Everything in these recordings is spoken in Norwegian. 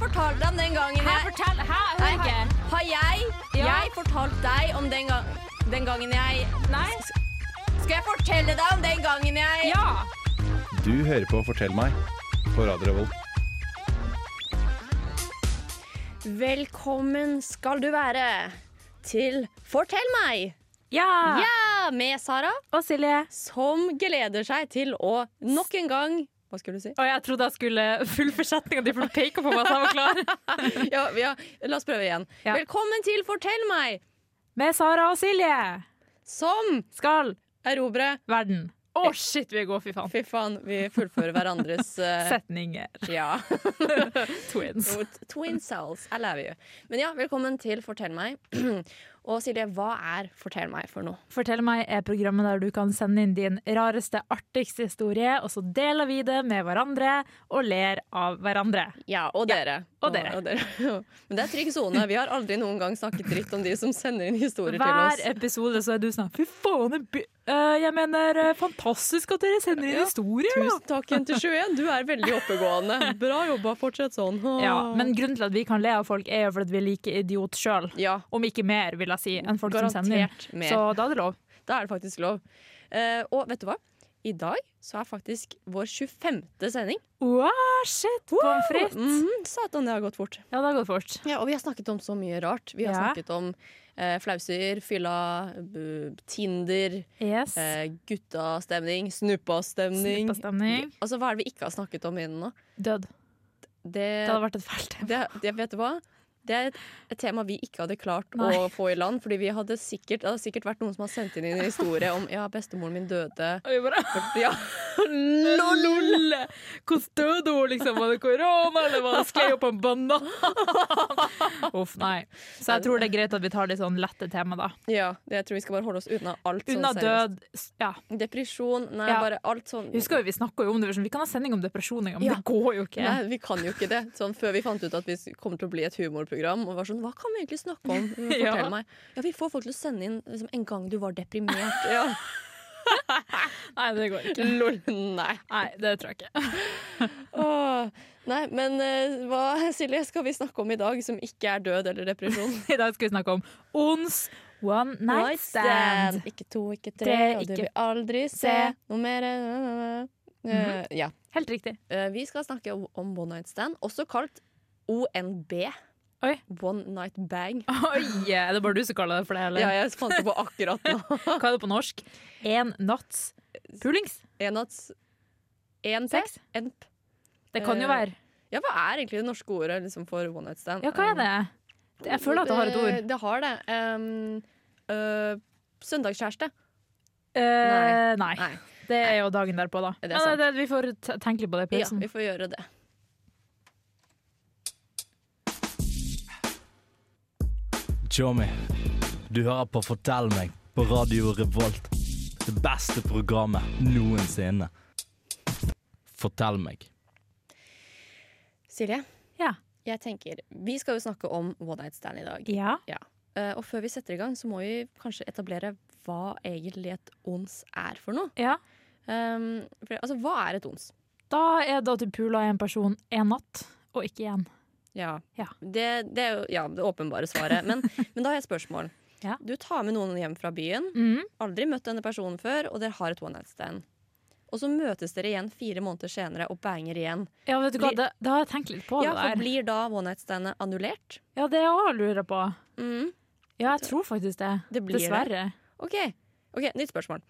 fortalte deg om den gangen Hæ, jeg fortell! Hæ, jeg hører Nei, ikke. Har jeg, Ja. jeg fortalt deg om den, gang, den gangen jeg Nei? Skal jeg fortelle deg om den gangen jeg Ja! Du hører på Fortell meg på Radio Revolt. Velkommen skal du være til Fortell meg! Ja! Ja! Med Sara, Og Silje. som gleder seg til å nok en gang Hva skulle du si? Og jeg trodde jeg skulle fullføre setninga di, for du peker på meg så jeg var klar. Ja, ja, la oss prøve igjen. Ja. Velkommen til Fortell meg, Med Sara og Silje som skal erobre verden. Å, shit, vi er gode, fy faen. Fy faen, vi fullfører hverandres eh, Setninger. Ja. Twins. With Twin cells, I love you. Men ja, velkommen til Fortell meg. Og Silje, hva er Fortell meg for noe? Fortell meg er programmet der du kan sende inn din rareste, artigste historie, og så deler vi det med hverandre og ler av hverandre. Ja, og dere. og dere. Men det er trygg sone. Vi har aldri noen gang snakket dritt om de som sender inn historier Hver til oss. episode så er du sånn Fy faen, det by- eh, jeg mener eh, fantastisk at dere sender inn Ja, historier! da!» Tusen takk, Jente21. Du er veldig oppegående. Bra jobba. Fortsett sånn. Ja, men grunnen til at vi kan le av folk, er jo fordi at vi er like idiot sjøl. Ja, Om ikke mer, vil jeg si, enn folk som sender garantert inn. mer. Så da er det lov. Da er det faktisk lov. Eh, og vet du hva? I dag så er faktisk vår 25. sending. Wow, shit! Mm. Pommes frites! Mhm, Satan, det har gått fort. Ja, det har gått fort. Ja, og vi har snakket om så mye rart. Vi har Ja. snakket om eh, flauser, fylla, b Tinder, Yes. eh, guttastemning, snuppastemning. Snippastemning. Altså, hva er det vi ikke har snakket om innen nå? Død. Det, Det hadde vært et fælt tema. det, det, vet du hva? Det er et, et tema vi ikke hadde klart Nei. å få i land. Fordi vi hadde sikkert, det hadde sikkert vært noen som har sendt inn en historie om ja, bestemoren min døde. Og vi bare Ja, Lol! Hvordan døde hun, liksom? Var det korona, eller var det sklei opp en banan? Uff, nei. Så jeg tror det er greit at vi tar litt sånn lette tema, da. ja det, jeg tror vi skal bare holde oss unna alt Unna sånn seriøst. død s- Ja. Depresjon, nei, Ja. bare alt sånn. Husker jo, vi snakka jo om det, vi kan ha sending om depresjon en gang, men Ja. det går jo ikke. Nei, vi kan jo ikke det. Sånn, før vi fant ut at vi s- kom til å bli et humorprogram. Og var sånn, Hva kan vi egentlig snakke om? Fortell Ja. meg. Ja, Vi får folk til å sende inn liksom, 'en gang du var deprimert'. Ja. Nei, det går ikke. Lol. Nei. Nei, det tror jeg ikke. Åh. Nei, men eh, hva Silje, skal vi snakke om i dag som ikke er død eller depresjon? I dag skal vi snakke om ons one night stand. Ikke to, ikke tre, Det er og du ikke- vil aldri se Se. Mhm. noe mer. Eh, ja. Helt riktig. Eh, vi skal snakke om, om one night stand, også kalt ONB. Oi. One night bang. Oi, er det bare du som kaller det for det, eller? Ja, jeg fant det på akkurat nå. Hva er det på norsk? En natts pulings? En natts En P? Sex? En p. Det kan jo Eh, være. Ja, hva er egentlig det norske ordet liksom, for one night stand? Eh, Ja, hva er det? Det- Jeg føler at det har et ord. Det, det har det. Um, øh, søndagskjæreste. Eh, nei. Nei. Det er jo dagen derpå, da. Det er Men sant. det, vi får t- tenke litt på det. i Ja, pausen. vi får gjøre det. Tjommi, du hører på Fortell meg på Radio Revolt. Det beste programmet noensinne. Fortell meg. Silje, Ja. jeg tenker Vi skal jo snakke om one night stand i dag. Ja. Eh, og før vi setter i gang, så må vi kanskje etablere hva egentlig et ons er for noe. ja. Um, for, altså, hva er et ons? Da er det at du puler en person en natt, og ikke igjen. Ja. Ja. Det, det er jo ja, det åpenbare svaret. Men, men da har jeg et spørsmål. Ja. Du tar med noen hjem fra byen. Mm. aldri møtt denne personen før, og dere har et one night stand. Og så møtes dere igjen fire måneder senere og banger igjen. Ja, vet du hva, Blir- det, det har jeg tenkt litt på. Ja, det for der. Blir da one night standet annullert? Ja, det òg lurer jeg på. Mm. Ja, jeg tror faktisk det. Det blir det. Dessverre. Ok, ok, nytt spørsmål.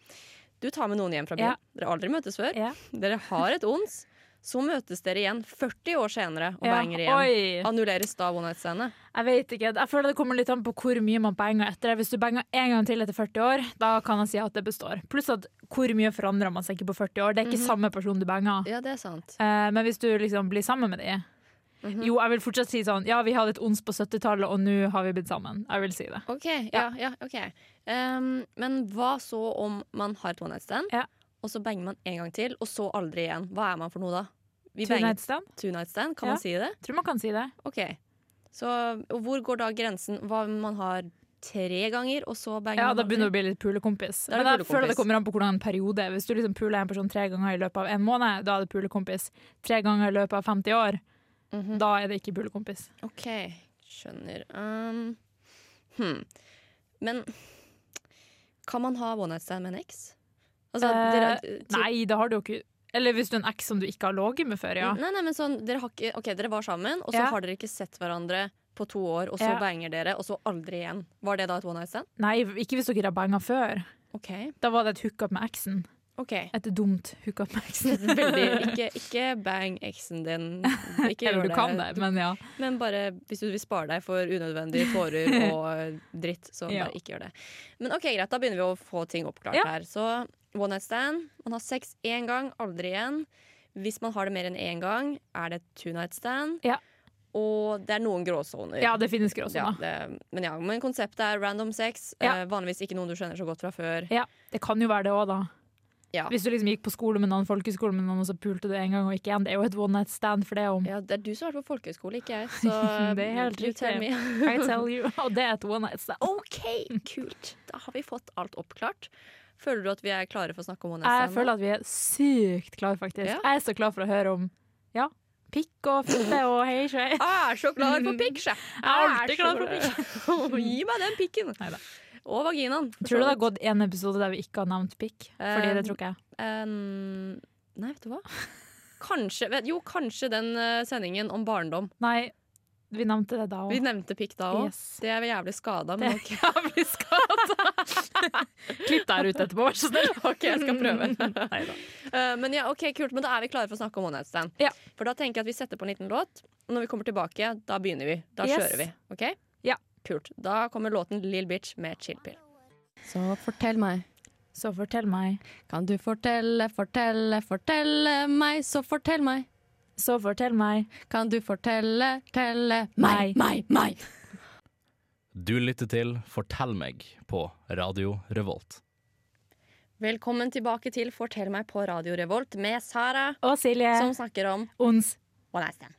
Du tar med noen hjem fra byen. Ja. Dere har aldri møtes før. Ja. Dere har et ons. Så møtes dere igjen 40 år senere og Ja. banger igjen. Oi, Annulleres da one night standet? jeg vet ikke. Jeg føler det kommer litt an på hvor mye man banger etter det. Hvis du banger en gang til etter 40 år, da kan jeg si at det består. Pluss at hvor mye forandrer man seg ikke på 40 år. Det er Mhm. ikke samme person du banger. Ja, det er sant. Eh, men hvis du liksom blir sammen med de Mhm. Jo, jeg vil fortsatt si sånn Ja, vi hadde et ons på 70-tallet, og nå har vi blitt sammen. Jeg vil si det. Ok, ja, ja, ok. Um, men hva så om man har et one night stand, Ja. og så banger man en gang til, og så aldri igjen? Hva er man for noe da? Vi Two banger night stand? two night stand, kan Ja. man si det? Tror man kan si det. Ok. Så og hvor går da grensen? Hva om man har tre ganger, og så banger Ja, man Da begynner du å aldri? bli litt pulekompis. Da er Men det jeg pulekompis. føler det kommer an på hvordan en periode Hvis du liksom puler en person tre ganger i løpet av en måned, da er det pulekompis. Tre ganger i løpet av 50 år, Mhm. Da er det ikke pulekompis. OK, skjønner. Um, hmm. Men kan man ha one night stand med en eks? Altså, Eh, dere, til- Nei, det har du jo ikke. Eller hvis du er en eks som du ikke har ligget med før, ja. Nei, nei, men sånn, dere, har ikke, ok, dere var sammen, og så Ja. har dere ikke sett hverandre på to år, og så Ja. banger dere, og så aldri igjen. Var det da et one night stand? Nei, ikke hvis dere har banga før. Ok. Da var det et hookup med eksen. ok. Et dumt hookup med eksen. Veldig, ikke, ikke bang eksen din. Ikke gjør Eller du det. kan det, men ja. Men bare hvis du vil spare deg for unødvendige tårer og eh, dritt, så Ja. bare ikke gjør det. Men ok, greit, da begynner vi å få ting oppklart Ja. her. Så one night stand. Man har sex én gang, aldri igjen. Hvis man har det mer enn én gang, er det two night stand. Ja. Og det er noen gråsoner. Ja, det finnes Ja, gråsoner. det, men, ja, men konseptet er random sex. Ja. Eh, vanligvis ikke noen du skjønner så godt fra før. Ja, det kan jo være det òg, da. Ja. Hvis du liksom gikk på skole med noen, folkeskole med noen, og så pulte du en gang og ikke igjen. Det er jo et one night stand for det om. Ja, det er du som har vært på folkehøyskole, ikke jeg. Så Det er helt you tell riktig. me. I tell you. Og det er et one night stand. OK, kult. Da har vi fått alt oppklart. Føler du at vi er klare for å snakke om one Jeg night stand? føler at vi er sykt klar, faktisk. Ja. Jeg er så klar for å høre om ja, pikk og fitte og hei sjøi. nå? Jeg er så klar for pikk, sjef! Mm. Jeg er alltid så klar for Gi meg den pikken. Neida. Og vaginaen. for så Tror du det har vidt. gått en episode der vi ikke har nevnt pikk? Fordi det tror ikke jeg. Um, nei, vet du hva? Kanskje, vet, jo, kanskje den eh, sendingen om barndom. Nei, vi nevnte det da Vi òg. nevnte pikk da òg. Yes. Det er vi jævlig skada, men ok. Ja, vi skal ta Klipp der ute etterpå, vær så snill. Ok, jeg skal prøve. Neida. Eh, men ja, ok, kult, men da er vi klare for å snakke om One Night Stand. Ja. For da tenker jeg at vi setter på en liten låt, og når vi kommer tilbake, da begynner vi. Da Yes. kjører vi. ok? Ja. Kult. Da kommer låten Lill Bitch med Chill Pill. Så fortell meg, Så fortell meg, kan du fortelle, fortelle, fortelle meg, så fortell meg. så fortell meg. Kan du fortelle, telle meg, meg, meg. Du lytter til Fortell meg på Radio Revolt. Velkommen tilbake til Fortell meg på Radio Revolt med Sara, Og Silje. som snakker om Ons. One Night Stand.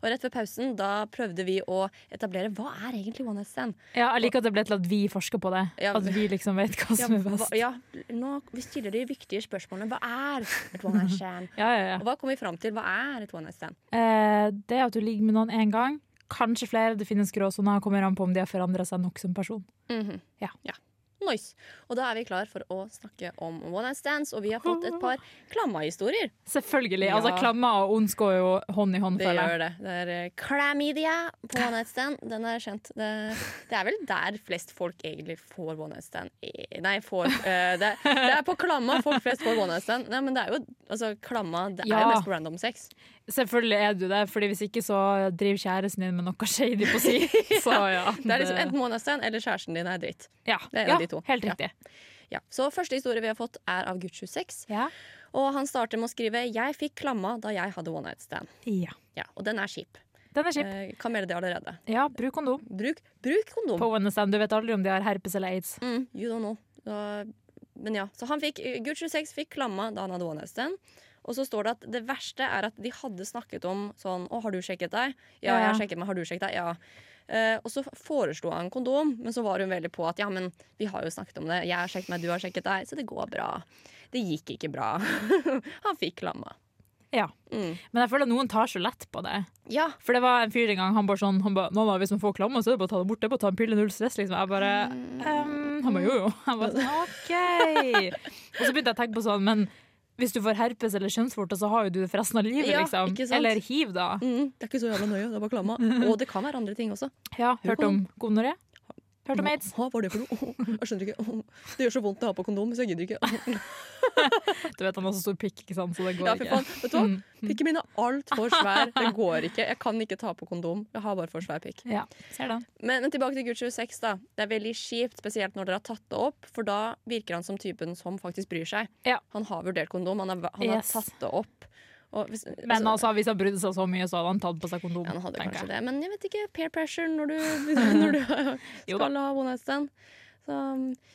Og rett ved pausen da prøvde vi å etablere hva er egentlig One Night Stand. Ja, jeg liker at det ble til at vi forsker på det. Ja. At vi liksom vet hva Ja, som er hva, best. ja, nå, vi stiller de viktige spørsmålene. Hva er et one night stand? Ja, ja, ja. Og hva kom vi fram til? Hva er et one night stand? Eh, det er at du ligger med noen én gang, kanskje flere. Det finnes gråsoner. Kommer an på om de har forandra seg nok som person. Nice. Og da er vi klar for å snakke om one night stands, og vi har fått et par klammahistorier. Selvfølgelig. Ja. Altså, Klammer og ons går jo hånd i hånd, Det føler jeg. gjør det. Det er eh, chlamydia på one night stand. Den er kjent. Det, det er vel der flest folk egentlig får one night stand. I- Nei, får eh, det, det er på klamma folk flest får one night stand. Nei, men det er jo altså, klamma Det er Ja. jo mest på random sex. Selvfølgelig er du det, Fordi hvis ikke så driver kjæresten din med noe shady på si. Så ja. Det er liksom enten one night stand eller kjæresten din er dritt. ja. det er en ja, av de to. Helt Ja. riktig. Ja, så Første historie vi har fått, er av Gucci 6. Ja. Og han starter med å skrive 'Jeg fikk klamma da jeg hadde one night stand'. ja. Ja, Og den er kjip. Den er kjip. Eh, kan melde det allerede. Ja, bruk kondom Bruk, bruk kondom. på ONSN. Du vet aldri om de har herpes eller aids. Mm, you don't know. Da- men ja, så han fikk, Gucci 6 fikk klamma da han hadde one night stand. Og så står det at det verste er at de hadde snakket om sånn 'Å, har du sjekket deg?' 'Ja, jeg har Ja. sjekket meg. Har du sjekket deg?' Ja. Eh, og så foreslo han kondom, men så var hun veldig på at 'ja, men vi har jo snakket om det. Jeg har sjekket meg, du har sjekket deg, så det går bra'. Det gikk ikke bra. han fikk klamma. Ja. Mm. Men jeg føler at noen tar så lett på det. Ja, For det var en fyr en gang, han bare sånn han bare, Mamma, hvis man får klammer, så er det bare å ta det bort. Det er bare å ta en pille, null stress, liksom. Jeg bare ehm, Han bare jo, jo. Jeg bare sånn, OK. Og så begynte jeg å tenke på sånn, men hvis du får herpes eller kjønnsvorter, så har jo du det for resten av livet, Ja, liksom. ikke sant? Eller hiv, da. mm, Det er ikke så jævla nøye, det er bare klamma. Og det kan være andre ting også. Ja, hørt om gonoré? Hørt om aids? Hva var det for noe? Jeg skjønner ikke. Det gjør så vondt å ha på kondom, så jeg gidder ikke. Du vet han har så stor pikk, ikke sant, så det Ja, går for ikke. faen. Vet du hva? Mm. Pikken min er altfor svær. Det går ikke. Jeg kan ikke ta på kondom. Jeg har bare for svær pikk. Ja, ser den. Men, men tilbake til gutt 26, da. Det er veldig kjipt, spesielt når dere har tatt det opp, for da virker han som typen som faktisk bryr seg. Ja. Han har vurdert kondom, han, har, han Yes. har tatt det opp. Og hvis, Men altså, hvis han brydde seg så mye, så hadde han tatt på seg kondom. ja, han hadde tenker kanskje jeg. det, men jeg vet ikke. Peer pressure når du, når du Jo da. skal ha one night stand. Så,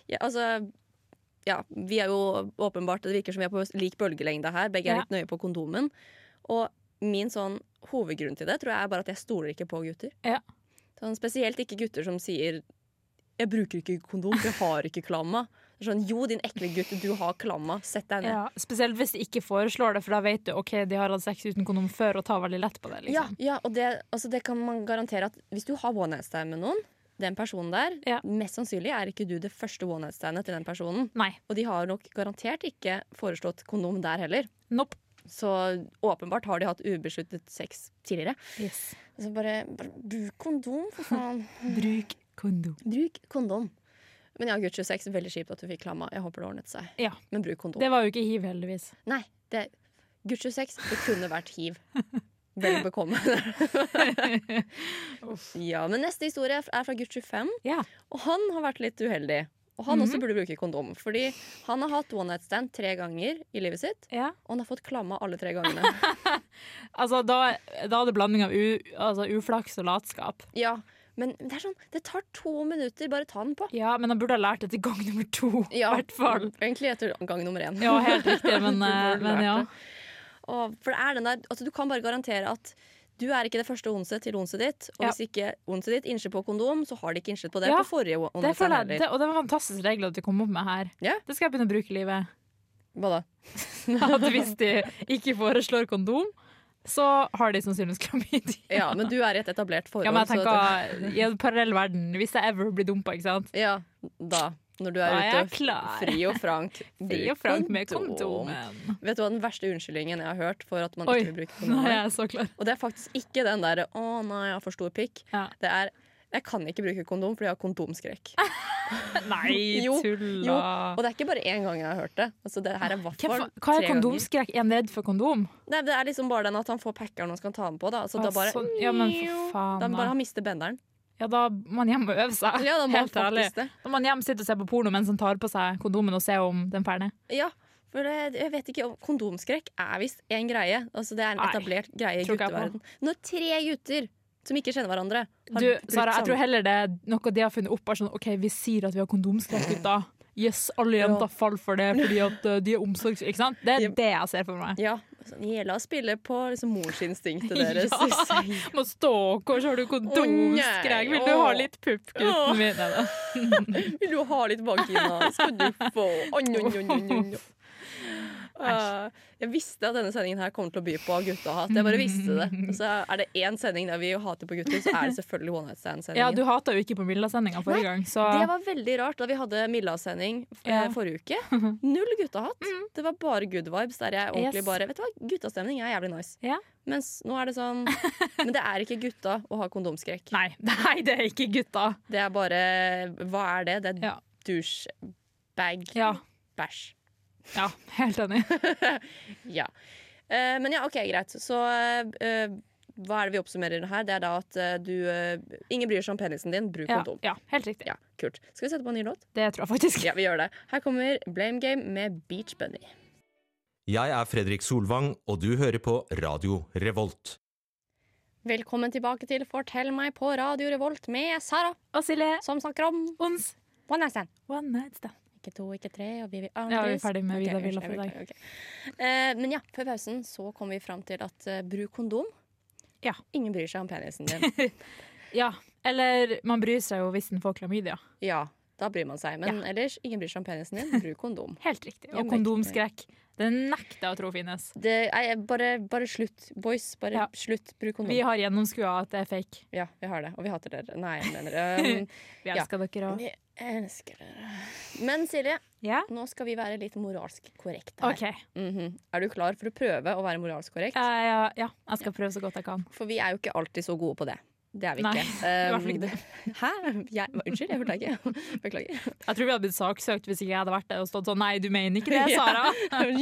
ja, altså Ja, vi er jo åpenbart Det virker som vi er på lik bølgelengde her. Begge er Ja. litt nøye på kondomen. Og min sånn hovedgrunn til det tror jeg er bare at jeg stoler ikke på gutter. Ja. Sånn, spesielt ikke gutter som sier 'jeg bruker ikke kondom, jeg har ikke klamma'. Sånn, jo, din ekle gutt, du har klamma. Sett deg ned. Ja, spesielt hvis de ikke foreslår det, for da vet du ok, de har hatt sex uten kondom før og tar veldig lett på det. Ja, liksom. ja og det, altså det kan man garantere at hvis du har one night stand med noen, den personen der, Ja. mest sannsynlig er ikke du det første one night standet til den personen. Nei. Og de har nok garantert ikke foreslått kondom der heller. Nope. Så åpenbart har de hatt ubesluttet sex tidligere. Så Altså, bare, bare bruk kondom, for faen. Bruk kondom. Bruk kondom. Men ja, gutt 26, veldig kjipt at du fikk klamma. Jeg håper det ordnet seg. Ja. Men bruk kondom. Det var jo ikke hiv, heldigvis. Nei, det, gutt 26, det kunne vært hiv. Vel bekomme. ja, men neste historie er fra gutt 25. Ja. Og han har vært litt uheldig. Og han Mhm. også burde bruke kondom. Fordi han har hatt one night stand tre ganger i livet sitt, ja. og han har fått klamma alle tre gangene. Altså, da, da er det blanding av u, altså, uflaks og latskap. Ja, men det er sånn, det tar to minutter, bare ta den på. Ja, men han burde ha lært det til gang nummer to, i Ja, hvert fall. Egentlig etter gang nummer én. Ja, helt riktig, men, Du eh, burde men lært ja. det. Og, for det er den der, altså, du kan bare garantere at du er ikke det første onset til onset ditt. Og Ja. hvis ikke onset ditt innskyr på kondom, så har de ikke innskytt på det Ja, på forrige onset. Det føler jeg, det, og det var en fantastisk regel at du kom opp med her. Ja. Det skal jeg begynne å bruke i livet. Hva da? At hvis de ikke foreslår kondom, så har de sannsynligvis klamydia. Ja, men du er i et etablert forhold. Ja, men jeg så tenker I en parallell verden, hvis jeg ever blir dumpa, ikke sant? at- ja, da. Når du er Da er jeg ute klar. fri og frank. Fri og bruk frank med kondomen. Vet du hva den verste unnskyldningen jeg har hørt for at man Oi, ikke vil bruke nå kondom? er er? jeg så klar. Og det er faktisk ikke den derre 'Å nei, jeg har for stor pikk'. Ja. Det er 'Jeg kan ikke bruke kondom fordi jeg har kondomskrekk'. Nei, Jo, Jo, tulla. og det er ikke bare én gang jeg har hørt det. Altså, det her er i hvert Hvem, fall fa- hva er tre ganger. kondomskrekk? Er han redd for kondom? Nei, det er liksom bare den at han får packeren og skal ta den på. Da. Altså, da bare, sånn, ja, men for da faen. bare da. han mister benderen. Ja, da må man hjem og øve seg. Ja, da må han Helt ærlig. faktisk det. Da må man hjem sitte og se på porno mens han tar på seg kondomen og ser om den ferner. Ja, for det, jeg vet ikke om Kondomskrekk er visst en greie. Altså, det er en Nei, etablert greie i tror ikke jeg på. gutteverden. Når tre gutter som ikke kjenner hverandre, har Du, brukt sånn? Sara, jeg samme- tror heller det er noe de har funnet opp. Bare sånn, ok, Vi sier at vi har kondomskrekk, gutta. Yes, alle Ja. jenter faller for det fordi at eh, de er omsorgs... Ikke sant? Det er Ja. det jeg ser for meg. ja, sånn, ja, La oss spille på liksom, morsinstinktet deres. Ja. Må stå, hvor har du Å, nei, kondomskrekk? Vil du ha å. litt pupp, gutten min? Nei, da. Vil du ha litt bakgina, skal du få Å, njo, njo, njo, njo, njo. Eh, Jeg visste at denne sendingen her kom til å by på guttehat. Jeg bare visste det. Og Så er det én sending der vi hater på gutter, så er det selvfølgelig One Night Ja, Stand-sendingen. du hata jo ikke på Milla-sendinga forrige gang, så det var veldig rart da vi hadde Milla-sending eh, Ja. Mm. forrige uke. Null guttehatt. Det var bare good vibes der jeg ordentlig Yes. bare Vet du hva, guttastemning er jævlig nice. Ja. Mens nå er det sånn Men det er ikke gutta å ha kondomskrekk. Nei, nei, det er ikke gutta. Det er bare Hva er det? Det er Ja. douchebag. Ja, Bæsj. ja helt enig. Ja. Eh, men ja, OK, greit. Så eh, hva er det vi oppsummerer her? Det er da at eh, du eh, Ingen bryr seg om penisen din, bruk Ja, kondom. ja, helt riktig. Ja, kult. Skal vi sette på en ny låt? Det tror jeg faktisk. Ja, vi gjør det. Her kommer Blame Game med Beach Bunny. Jeg er Fredrik Solvang, og du hører på Radio Revolt. Velkommen tilbake til Fortell meg på Radio Revolt med Sara, Og Silje, som snakker om ons One Night Stand. one night stand. Ikke to, ikke tre, og vi vil Ja, vi er ferdig med Ok, Vida Villa unnskyld, for i dag. jeg beklager, ok. Eh, men ja, før pausen så kom vi fram til at eh, bruk kondom. Ja. Ingen bryr seg om penisen din. Ja, eller man bryr seg jo hvis den får klamydia. ja, da bryr man seg. Men ellers, ingen bryr seg om penisen din, bruk kondom. Helt riktig. Ja, Og men- kondomskrekk. Det nekter jeg å tro finnes. Det, nei, bare, bare slutt, boys. Bare Ja. slutt, bruk kondom. Vi har gjennomskua at det er fake. Ja, vi har det. Og vi hater dere. Nei, jeg mener um, Vi Ja. elsker dere òg. Vi elsker dere. Men Silje, Ja? nå skal vi være litt moralsk korrekte her. OK. Eh, Mhm. Er du klar for å prøve å være moralsk korrekt? Ja, ja, ja, jeg skal prøve så godt jeg kan. For vi er jo ikke alltid så gode på det. Det er vi Nei, ikke. i hvert fall ikke Um, Hæ? Jeg, hva, unnskyld, jeg hørte deg ikke. Beklager. Jeg tror vi hadde blitt saksøkt hvis ikke jeg hadde vært der og stått sånn Nei, du mener ikke det, Sara?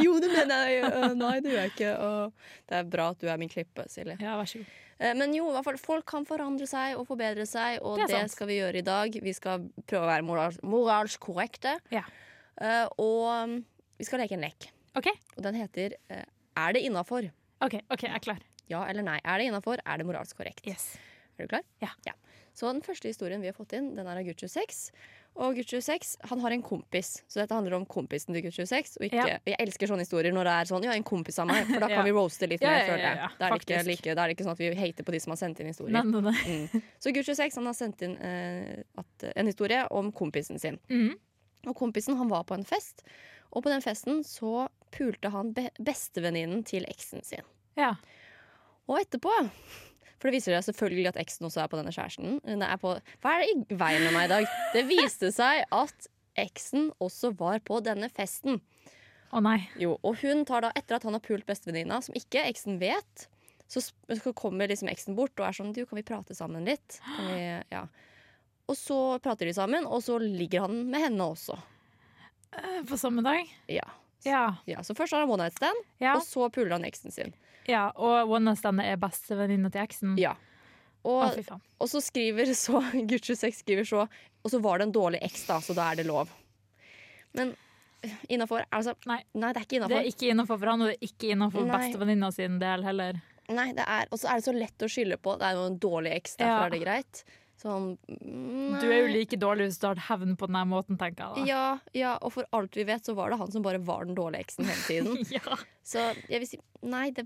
jo, det mener jeg. Øh, Nei, det gjør jeg ikke. Og det er bra at du er min klippe, Silje. Ja, vær så god. Eh, Men jo, i hvert fall, folk kan forandre seg og forbedre seg, og Det det, er sant. skal vi gjøre i dag. Vi skal prøve å være morals moralsk korrekte. Ja. Eh, og um, vi skal leke en lek, OK, og den heter eh, Er det innafor? ok, ok, jeg er klar. Ja eller nei? Er det innafor? Er det moralsk korrekt? Yes. Er du klar? Ja. Så den første historien vi har fått inn, den er av gutt 26. Og gutt 26 han har en kompis, så dette handler om kompisen til gutt 26. Og ikke, Ja. Jeg elsker sånne historier når det er sånn 'ja, en kompis av meg', for da kan Ja. vi roaste litt Ja, mer, ja, ja, føler jeg. ja, Da er det ikke, faktisk. like, da er det ikke sånn at vi hater på de som har sendt inn historier. Nei, nei, nei. Mm. Så gutt 26 han har sendt inn eh, at, en historie om kompisen sin. Mhm. Og kompisen han var på en fest, og på den festen så pulte han be bestevenninnen til eksen sin. Ja. Og etterpå For det viser seg selvfølgelig at eksen også er på denne kjæresten. Hun er på, hva er det i veien med meg i dag? Det viste seg at eksen også var på denne festen. Å nei. Jo, og hun tar da etter at han har pult bestevenninna, som ikke eksen vet, så, sp- så kommer liksom eksen bort og er sånn Du, kan vi prate sammen litt? Kan vi, ja. Og så prater de sammen, og så ligger han med henne også. Eh, På samme dag? Ja. Ja. ja Så først har han one night stand, Ja. og så puler han eksen sin. ja. Og one night stand er bestevenninna til eksen? Ja. Å, Og, Mm. Ah, fy faen. og så skriver så Gucci 6 skriver så Og så var det en dårlig eks, da, så da er det lov. Men innafor altså, Nei. nei, det er ikke Det er innafor. ikke innafor for han, og det er ikke innafor Nei. bestevenninna sin del heller. Nei, det er, og så er det så lett å skylde på. Det er jo en dårlig eks, derfor Ja. er det greit. Sånn nei. Du er jo like dårlig hvis du tar hevn på denne måten, tenker jeg da. ja, ja, og for alt vi vet, så var det han som bare var den dårlige eksen hele tiden. Ja. Så jeg vil si nei, det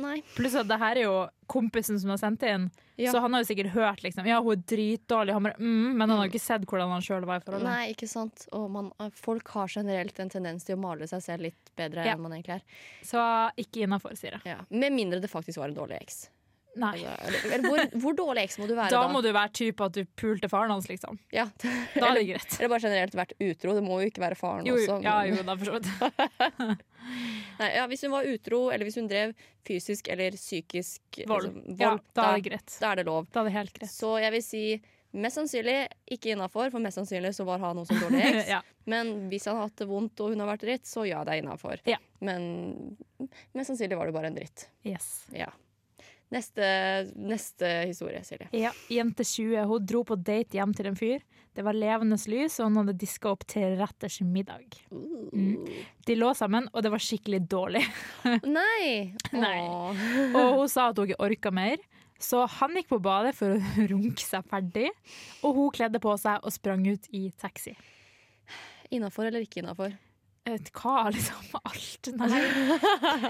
Nei. Pluss at det her er jo kompisen som har sendt inn, Ja. så han har jo sikkert hørt liksom Ja, hun er dritdårlig, han bare mm, Men han har ikke sett hvordan han sjøl var i forholdet. Nei, ikke sant. Og man, eh, folk har generelt en tendens til å male seg selv litt bedre Ja. enn man egentlig er. Så ikke innafor, sier jeg. Ja. Med mindre det faktisk var en dårlig eks. Nei. Altså, eller- eller hvor, hvor dårlig eks må du være Da da? må du være type at du pulte faren hans, liksom. Ja. Da er eller, det greit. eller bare generelt vært utro. Det må jo ikke være faren Jo, jo, også. Liksom, ja, jo da, for så vidt. Nei, ja, hvis hun var utro, eller hvis hun drev fysisk eller psykisk Vold. altså, Ja, vold, da da, er det greit. da er det lov. Da er det helt greit. Så jeg vil si mest sannsynlig ikke innafor, for mest sannsynlig så var han også en dårlig eks. Ja. Men hvis han har hatt det vondt og hun har vært dritt, så ja, det er innafor. Ja. Men mest sannsynlig var det bare en dritt. Yes. Ja. Neste, neste historie, Silje. Ja, Jente 20 hun dro på date hjem til en fyr. Det var levende lys, og hun hadde diska opp til retters middag. De lå sammen, og det var skikkelig dårlig. Nei! Nei. Åh. Og hun sa at hun ikke orka mer, så han gikk på badet for å runke seg ferdig. Og hun kledde på seg og sprang ut i taxi. Innafor eller ikke innafor? Jeg vet hva, liksom? Alt? Nei.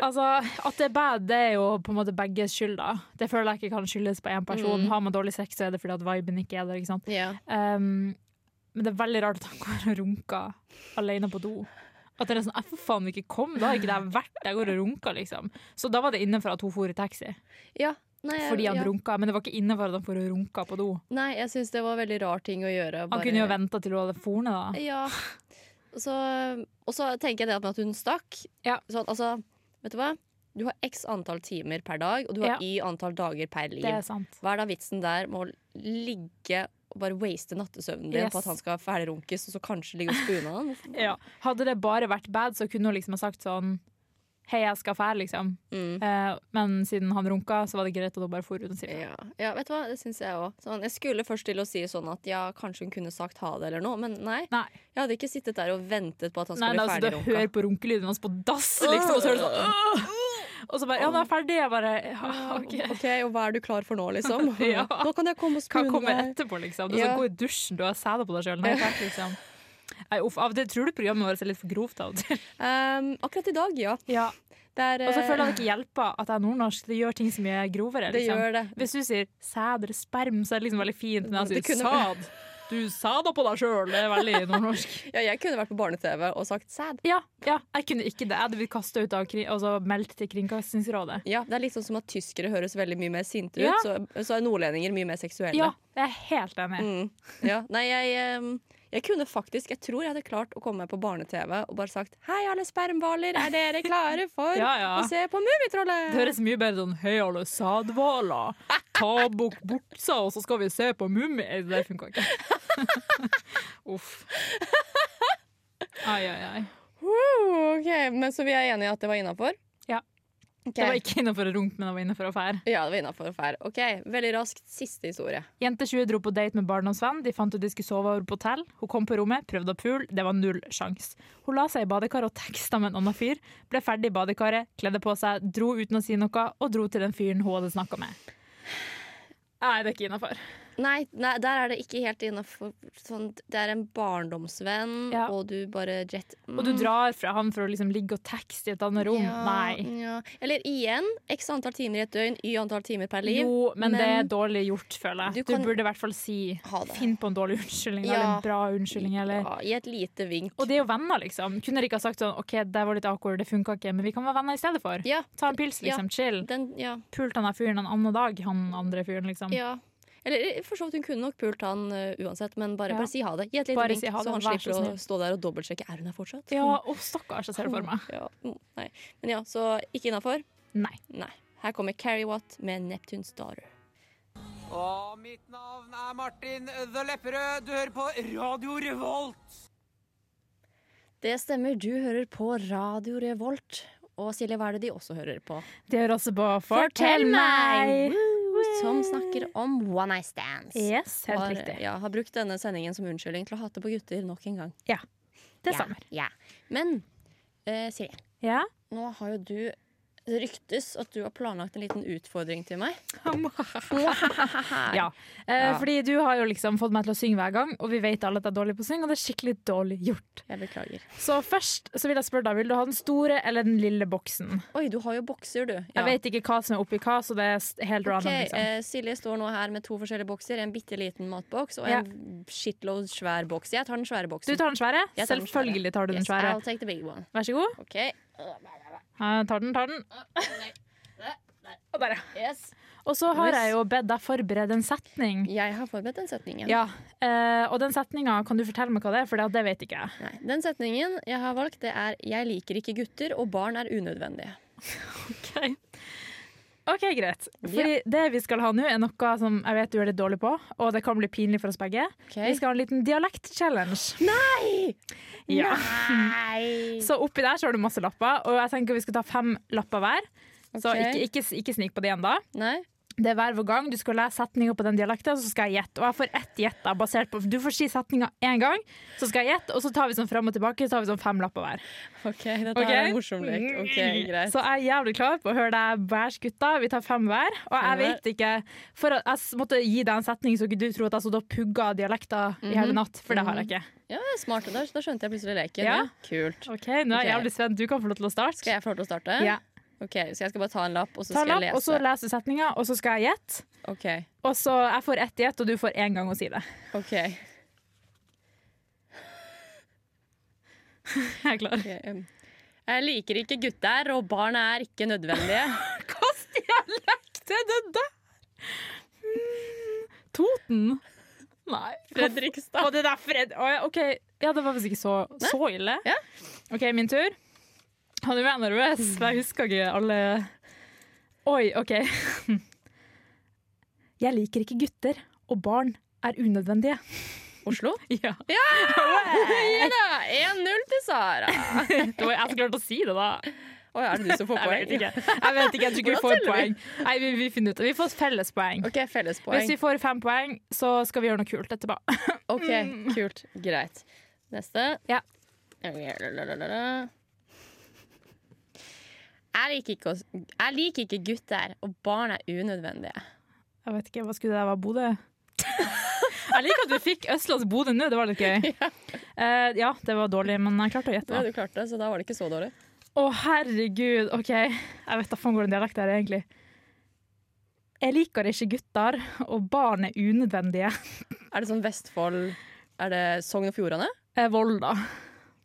Altså, at det er bad, det er jo på en måte begges skyld, da. Det føler jeg ikke kan skyldes på én person. Har man dårlig sex, så er det fordi at viben ikke er der. ikke sant? Ja. Um, men det er veldig rart at han går og runker alene på do. At det er sånn, jeg for faen ikke kom, da er ikke det her verdt det, jeg går og runker, liksom. Så da var det innenfor at hun for i taxi, ja. Nei, jeg- fordi han Eh, ja. runka, men det var ikke innenfor at han for og runka på do. Nei, jeg syns det var veldig rar ting å gjøre. Han kunne jo venta til hun hadde forne, da. Ja. Og så, og så tenker jeg det at med at hun stakk Ja. sånn, altså, Vet du hva? Du har x antall timer per dag, og du har Ja. y antall dager per liv. Det er sant. Hva er da vitsen der med å ligge og bare waste nattesøvnen din Yes. på at han skal ferdigrunkes, og så kanskje ligge og spune han? Hvorfor- Ja. Hadde det bare vært bad, så kunne hun liksom ha sagt sånn Hei, jeg skal fære, liksom. Mm. Eh, men siden han runka, så var det greit at hun bare for uten sitt. Ja. ja, vet du hva, det syns jeg òg. Sånn, jeg skulle først til å si sånn at ja, kanskje hun kunne sagt ha det eller noe, men nei. Nei. Jeg hadde ikke sittet der og ventet på at han skulle Nei, det er bli altså, du ferdigrunka. hører på runkelyden hans på dass, liksom, og så hører du sånn «Åh!» Og så bare Ja, den er ferdig. Jeg bare ja, OK. OK, og hva er du klar for nå, liksom? Ja. Nå kan jeg komme og Hva spune kommer deg. etterpå, liksom? Du skal Ja. gå i dusjen, du har sæda på deg sjøl. Liksom. Nei, uff, av og til tror du programmet vårt er litt for grovt av og til. Ehm, akkurat i dag, ja. Det er, Og så eh, føler jeg det ikke hjelper at jeg er nordnorsk. Det gjør ting så mye grovere. det Liksom. gjør det. Hvis du sier sæd eller sperm, så er det liksom veldig fint. Men jeg Det sier kunne- sæd. Du sæda på deg sjøl. Det er veldig nordnorsk. Ja, jeg kunne vært på barne-TV og sagt sad. Ja, ja, jeg kunne ikke det. Jeg hadde blitt kasta ut av kri- og så meldt til Kringkastingsrådet. Ja, Det er litt sånn som at tyskere høres veldig mye mer sinte ut, Ja. så, så er nordlendinger mye mer seksuelle. Ja, jeg er helt enig. Mm. ja. Nei, jeg, ehm, jeg kunne faktisk Jeg tror jeg hadde klart å komme meg på barne-TV og bare sagt Hei, alle spermhvaler, er dere klare for Ja, ja. å se på Mummitrollet? Det høres mye bedre sånn Hei, alle sædhvaler. Ta bort buksa, og så skal vi se på mummi. Eh, Det funka ikke. Uff. Ai, ai, ai. Woo, ok, Men så vi er enige i at det var innafor? Ja. Det var ikke innafor å runke, men det var innafor å fære. Ja, det var innafor. OK, veldig raskt siste historie. Jente 20 dro på date med barndomsvenn. De fant ut de skulle sove over på hotell. Hun kom på rommet, prøvde å pule. Det var null sjans. Hun la seg i badekaret og teksta med en annen fyr. Ble ferdig i badekaret, kledde på seg, dro uten å si noe, og dro til den fyren hun hadde snakka med. Nei, det er ikke innafor. Nei, nei, der er det ikke helt innafor. Sånn, det er en barndomsvenn, Ja. og du bare jet Og du Mm, drar fra han for å liksom ligge og tekste i et annet rom. ja, Nei. Ja. Eller igjen, x antall timer i et døgn, y antall timer per liv. Jo, men, det er men- dårlig gjort, føler Du jeg. Du, kan- burde i hvert fall si Ha det. Finn på en dårlig unnskyldning, eller Ja. en bra unnskyldning, eller Ja, I et lite vink. Og det er jo venner, liksom. Kunne dere ikke ha sagt sånn OK, det var litt awkward, det funka ikke, men vi kan være venner i stedet for. Ja, Ta en pils, liksom. Chill. den, ja, Pult han der fyren en annen dag, han andre fyren, liksom. ja. Eller eh, for så vidt, hun kunne nok pult han ø, uansett, men bare, Ja. bare si ha det. Gi et lite Bare vink, si ha det, så han vær så slipper å snill. stå der og dobbeltsjekke er hun her fortsatt. Ja, å stakkars, jeg ser det for meg. Ja, mm, nei. Men ja, så ikke innafor. Nei. Nei. Her kommer Carrie Watt med 'Neptunes Daughter'. Og mitt navn er Martin The Lepperød. Du hører på Radio Revolt. Det stemmer, du hører på Radio Revolt. Og Silje, hva er det de også hører på? Det gjør altså på Fortell meg! Woo! Som snakker om one night stands. Yes, helt har, riktig. Ja, har brukt denne sendingen som unnskyldning til å hate på gutter nok en gang. Det ja, stemmer. Ja. Men eh, Silje, Ja? nå har jo du det ryktes at du har planlagt en liten utfordring til meg. Ja. Eh, Ja. Fordi du har jo liksom fått meg til å synge hver gang, og vi vet alle at jeg er dårlig på å synge, og det er skikkelig dårlig gjort. Jeg beklager. Så først så vil jeg spørre deg, vil du ha den store eller den lille boksen? Oi, du har jo bokser, du. Jeg vet ikke hva som er oppi hva, så det er s- helt Ok, random. Liksom. eh, Silje står nå her med to forskjellige bokser. En bitte liten matboks og en shitload svær boks. Jeg tar den svære Du boksen. tar den svære? Jeg tar den svære. Selvfølgelig tar du den Yes, svære. I'll take the big one. Vær så god. Ok, Eh, tar den, tar den. Og der, ja. yes. Og så har Nice. jeg jo bedt deg forberede en setning. Jeg har forberedt den setningen. Ja, eh, og den setninga, kan du fortelle meg hva det er? For det- det vet ikke jeg. Nei, den setningen jeg har valgt, det er 'Jeg liker ikke gutter, og barn er unødvendige'. Ok, greit. Fordi det vi skal ha nå, er noe som jeg vet du er litt dårlig på, og det kan bli pinlig for oss begge. Ok. Vi skal ha en liten dialekt-challenge. Nei! Ja. Nei! Så oppi der så har du masse lapper, og jeg tenker vi skal ta fem lapper hver. Så Ok. ikke, ikke, ikke snik på det ennå. Nei? Det er hver vår gang du skal lese setninga på den dialekten, så skal jeg gjette. Og jeg får ett gjett, da, basert på Du får si setninga én gang, så skal jeg gjette, og så tar vi sånn fram og tilbake, så tar vi sånn fem lapper hver. OK, dette Ok. Mm. er en morsom lek. Ok, greit. Så jeg er jævlig klar på å høre deg bæsj, gutta. Vi tar fem hver. Og Fem jeg hver. vet ikke For at jeg s- måtte gi deg en setning så ikke du tror at jeg satt og pugga dialekter i Mhm. hele natt, for det har jeg ikke. Ja, smart. Da, da skjønte jeg plutselig leken. Ja. Kult. Ok, Nå er jeg Ok. jævlig spent. Du kan få lov til å starte. Skal jeg få lov til å starte? Ja. Ok, Så jeg skal bare ta en lapp, og så Ta skal lapp, jeg lese? og så leser du setninga, og så skal jeg gjette. OK. Og så Jeg får ett gjett, og du får én gang å si det. ok, Jeg er klar. ok, um. Jeg liker ikke gutter, og barn er ikke nødvendige. Hvilken dialekt er det der? Mm. Toten? Nei. Fredrikstad. Å, det der Fred... Å, ja, OK, ja, det var visst ikke så, så ille. Ja. OK, min tur. Ja, du er nervøs, for jeg husker ikke alle Oi, OK. Jeg liker ikke gutter, og barn er unødvendige. Oslo? Ja. Ja da! 1-0 til Sara. Det var jeg som klarte å si det, da. Å, er det du som får Jeg poeng? vet ikke. Jeg vet ikke, jeg tror ikke vi Hvordan får teller vi? poeng. Nei, vi, vi finner ut det. Vi får fellespoeng. OK, Hvis fellespoeng. vi får fem poeng, så skal vi gjøre noe kult etterpå. OK, kult. Greit. Neste. Ja. Jeg liker, ikke, å- jeg liker ikke gutter, og barn er unødvendige. Jeg vet ikke, hva skulle det der være? Bodø? jeg liker at vi fikk Østlands-Bodø nå, det var litt gøy. Eh, ja, det var dårlig, men jeg klarte å gjette. Ja, da. du klarte det, så da var det ikke så dårlig. Å, herregud, OK. Jeg vet da faen hvordan dialekt det er, egentlig. Jeg liker ikke gutter, og barn er unødvendige. Er det sånn Vestfold Er det Sogn og Fjordane? Eh, Vold, da.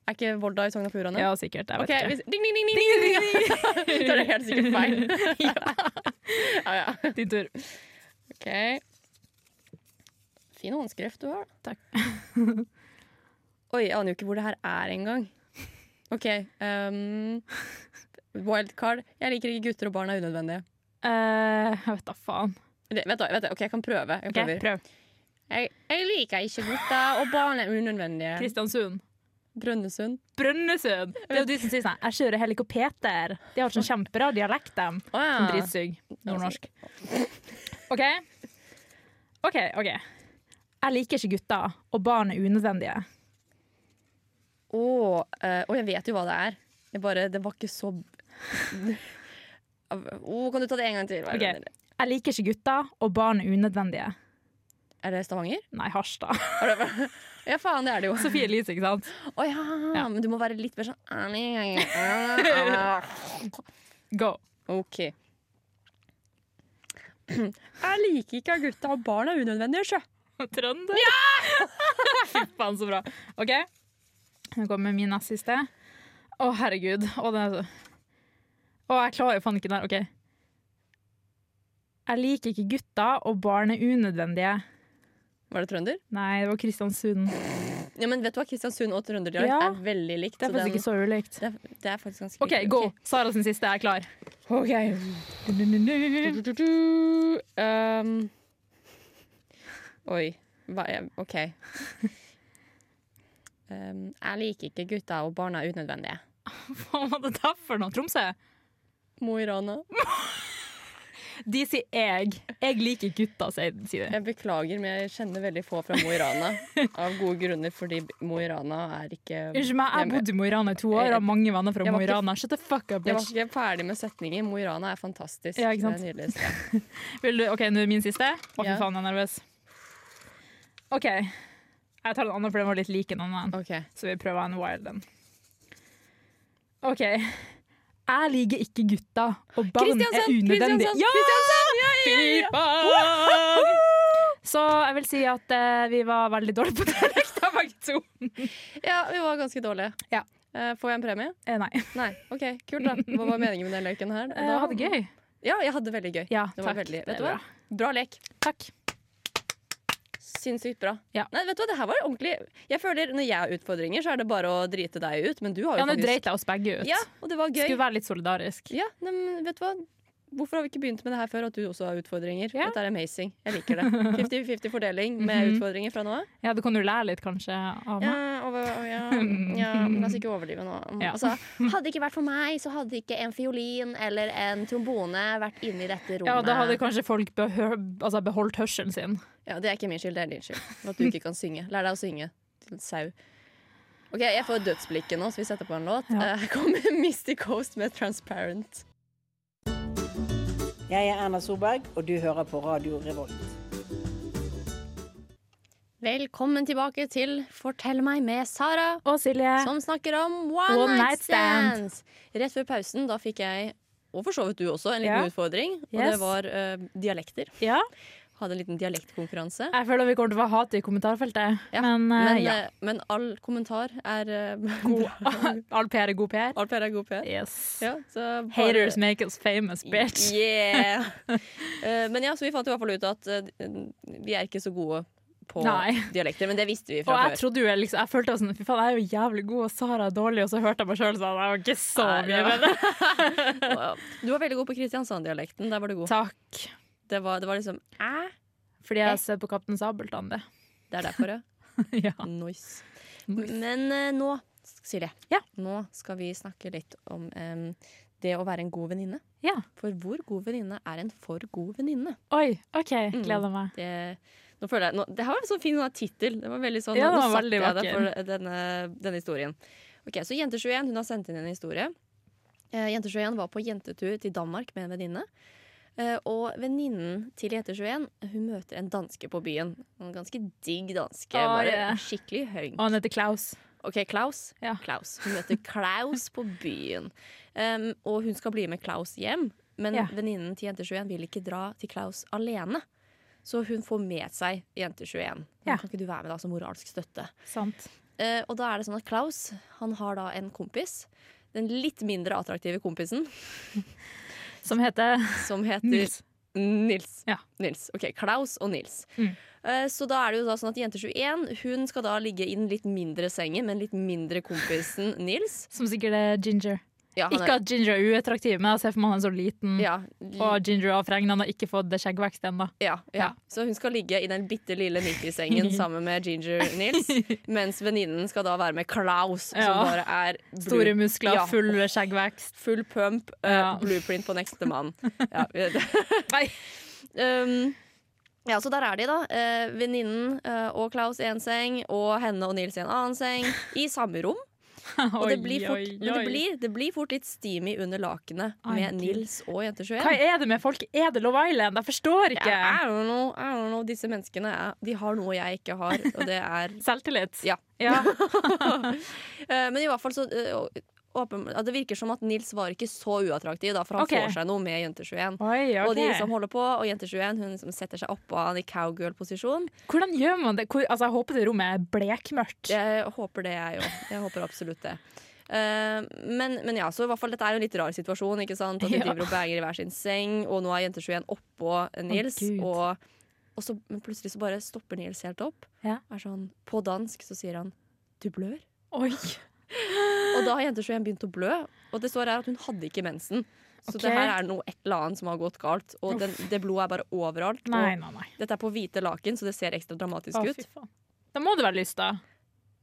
Er ikke Volda i Sogn og Fjordane? Ja, sikkert. Jeg Ok, vet ikke. hvis, ding, ding, ding, ding, ding, ding, ding. Da er det helt sikkert feil. ja, ja. Din tur. Ok. Fin håndskrift du har. da. Oi, jeg aner jo ikke hvor det her er engang. OK. Um, wildcard. Jeg liker ikke gutter og barn er unødvendige. Eh, jeg vet da faen. Det, vet du, hva, vet du, ok, Jeg kan prøve. Jeg, OK, prøver. prøv. jeg, jeg liker ikke gutter og barn er unødvendige. Kristiansund. Brønnøysund. Brønnøysund. Det er jo de som sier sånn Jeg kjører helikopter. De har sånn kjempebra dialekt, dem. Å ja. Som dritsugg. Nordnorsk. Sånn OK. OK. ok. Jeg liker ikke gutter, og barn er unødvendige. Å, eh, å, jeg vet jo hva det er. Jeg bare, det var ikke så Å, Kan du ta det en gang til? Vær Ok. vennlig. Jeg liker ikke gutter, og barn er unødvendige. Er det Stavanger? Nei, Harstad. Er det, ja, faen, det er det jo. Sofie Elise, ikke sant? Å ja, Ja. men du må være litt mer sånn ærlig. Ah, Go. OK. Jeg liker ikke at gutta og barn er unødvendige, sjø. Trønder. Ja! Fy faen, så bra. OK, nå kommer min nest siste. Å, herregud. Å, det er så... Å, jeg klarer jo faen ikke den her. OK. Jeg liker ikke gutter, og barn er unødvendige. Var det trønder? Nei, det var Kristiansund. Ja, men vet du hva, Kristiansund og trønderdialekt Ja. er veldig likt. Det er så den- faktisk ikke så ulikt. det, er, det er faktisk ganske OK, likt. go. Sara sin siste. Jeg er klar. Ok. Du-du-du-du. Du-du-du-du. Um. Oi. Hva er OK. Um, jeg liker ikke gutta og barna er unødvendige. Hva var det der for noe? Tromsø? Mo i Rana. De sier jeg. Jeg liker gutter, sier sier de. Jeg beklager, men jeg kjenner veldig få fra Mo i Rana. Av gode grunner, fordi Mo i Rana er ikke Unnskyld meg, jeg bodde i Mo i Rana i to år og har mange venner fra Eh, Jeg var Mo i ikke- Rana. Shut the fuck up, Jeg var bitch. ikke ferdig med setningen. Mo i Rana er fantastisk. Ja, ikke sant? Det er nydelig. sted. Vil du, ok, nå er min siste. Å, fy Ja. faen, jeg er nervøs. OK. Jeg tar den andre, for den var litt lik en annen. Ok. Så vi prøver en wild en. OK. Jeg liker ikke gutta, og barn er Kristiansand! unødvendig. Kristiansand! Ja! Kristiansand! Ja, ja, ja, ja. Så jeg vil si at eh, vi var veldig dårlige på dialekter, begge to. ja, vi var ganske dårlige. Ja. Eh, Får jeg en premie? Eh, nei. Nei, ok, kult da Hva var meningen med den leken her? Eh, Jeg hadde det gøy. Ja, jeg hadde det veldig gøy Ja, Det var takk. veldig, Det vet er du hva? bra. Bra lek, Takk. sinnssykt bra Ja. Nei, vet du hva, det her var ordentlig Jeg føler når jeg har utfordringer så er det bare å drite deg ut Men du har jo Ja, nå faktisk dreit jeg oss begge ut. Ja, og det var gøy Skulle være litt solidarisk. Ja, nei, men vet du hva Hvorfor har vi ikke begynt med det her før At du også har utfordringer Ja. Dette er amazing, jeg liker det 50-50 fordeling med utfordringer fra nå av. Ja, du kan jo lære litt, kanskje, av meg. Ja, og, og, ja, ja, men la oss ikke overdrive nå. Ja. Altså, hadde det ikke vært for meg, så hadde ikke en fiolin eller en trombone vært inne i dette rommet. Ja, da hadde kanskje folk behø altså beholdt hørselen sin. Ja, Det er ikke min skyld, det er din skyld. For At du ikke kan synge. Lær deg å synge til en sau. Ok, Jeg får dødsblikket nå, så vi setter på en låt. Ja. Eh, Her kommer Misty Coast med 'Transparent'. Jeg er Erna Solberg, og du hører på Radio Revolt. Velkommen tilbake til 'Fortell meg' med Sara. Og Silje. Som snakker om one, One night, night stands. Rett før pausen da fikk jeg, og for så vidt du også, en liten Ja. utfordring. Og Yes. det var eh, dialekter. Ja, Hadde en liten dialektkonkurranse. jeg føler vi kommer til å få hat i kommentarfeltet. Ja, Men, eh, Men, ja. eh, men all kommentar er eh, all PR er god PR. All PR er god PR. Yes. eh, Ja, så bare- Haters make us famous, bitch. Yeah. Eh, men ja, så vi fant i hvert fall ut at eh, vi er ikke så gode på Nei. dialekter. Men det visste vi Og fra jeg før. trodde jo jeg liksom, jeg følte sånn, fy faen, jeg er jo jævlig god, og Sara er dårlig, og så hørte jeg meg sjøl sånn, jeg var ikke så Nei, mye det var- bedre. Du var veldig god på Kristiansand-dialekten. Der var du god. Takk. Det var, det var liksom Æ? Fordi jeg har sett på Kaptein Sabeltann, det. Det er derfor, ja. ja. Nice. Men eh, nå, Silje, Ja. nå skal vi snakke litt om em, det å være en god venninne. ja. For hvor god venninne er en for god venninne? Oi, OK. Mm. Gleder meg. Det, nå føler jeg, nå, det her var en sånn fin sånn tittel. Det var veldig sånn, Ja, nå den var satte veldig jeg deg vakker. for denne, denne historien. Ok, Så Jente21 hun har sendt inn en historie. Eh, Jente21 var på jentetur til Danmark med en venninne. Eh, og venninnen til Jente21 hun møter en danske på byen. En ganske digg danske. Å, bare ja. Skikkelig høy. Og han heter Klaus. Ok, Klaus. Ja. Klaus. Hun møter Klaus på byen. Um, og hun skal bli med Klaus hjem, men Ja. venninnen til Jente21 vil ikke dra til Klaus alene. Så hun får med seg Jente21. Ja. Kan ikke du være med da som moralsk støtte? Sant. Eh, og da er det sånn at Klaus han har da en kompis. Den litt mindre attraktive kompisen Som heter som heter Nils. Nils. Ja. Nils. Ok, Klaus og Nils. Mm. Eh, Så da er det jo da sånn at jente 21 hun skal da ligge i den litt mindre sengen med den litt mindre kompisen Nils. Som sikkert er Ginger. Ja, han Ikke at Ginger er uattraktiv, men jeg ser for meg han er så liten. er, ja, Mm. Og Ginger Afreng han har ikke fått det skjeggvekst ennå. ja, ja. ja. Så hun skal ligge i den bitte lille 90-sengen sammen med Ginger Nils, mens venninnen skal da være med Klaus, som Ja. bare er blue- Store muskler, Ja. full skjeggvekst. Full pump, eh, Ja. blueprint på neste mann. Ja, vi- Nei. Um, ja, så der er de, da. Eh, Venninnen eh, og Klaus i en seng, og henne og Nils i en annen seng. I samme rom. Og det Oi, blir fort, oi, men det oi. blir, det blir fort litt steamy under lakenet Ai, med Gud. Nils og Jenter Hva 21. er det med folk? Er det Love Island? Jeg forstår Ja, ikke. I don't know, I don't know. Disse menneskene er, de har noe jeg ikke har, og det er Selvtillit. Ja. Ja. Eh, Men i hvert fall så eh, å- åpen, at Det virker som at Nils var ikke så uattraktiv, da, for han Ok. får seg noe med Jenter 21. Oi, ok. Og de liksom holder på, og Jenter 21 hun liksom setter seg oppå han i cowgirl-posisjon. Hvordan gjør man det? Hvor, altså, jeg håper det rommet er blekmørkt. Jeg håper det, jeg òg. Jeg håper absolutt det. Eh, men, men ja, så i hvert fall dette er jo en litt rar situasjon. ikke sant? At de Ja. driver og banger i hver sin seng, og nå er jenter 21 oppå Nils. Gud. og, og så, men plutselig så bare stopper Nils helt opp. Ja. Er sånn, på dansk så sier han 'du blør'. Oi. Og da har jenter 21 begynt å blø. Og det står her at hun hadde ikke mensen. Så Ok. det her er noe et eller annet som har gått galt. Og den, det blodet er bare overalt. Nei, nei, nei. Og dette er på hvite laken, så det ser ekstra dramatisk Å, ut. fy faen. Da må det være lyst, da.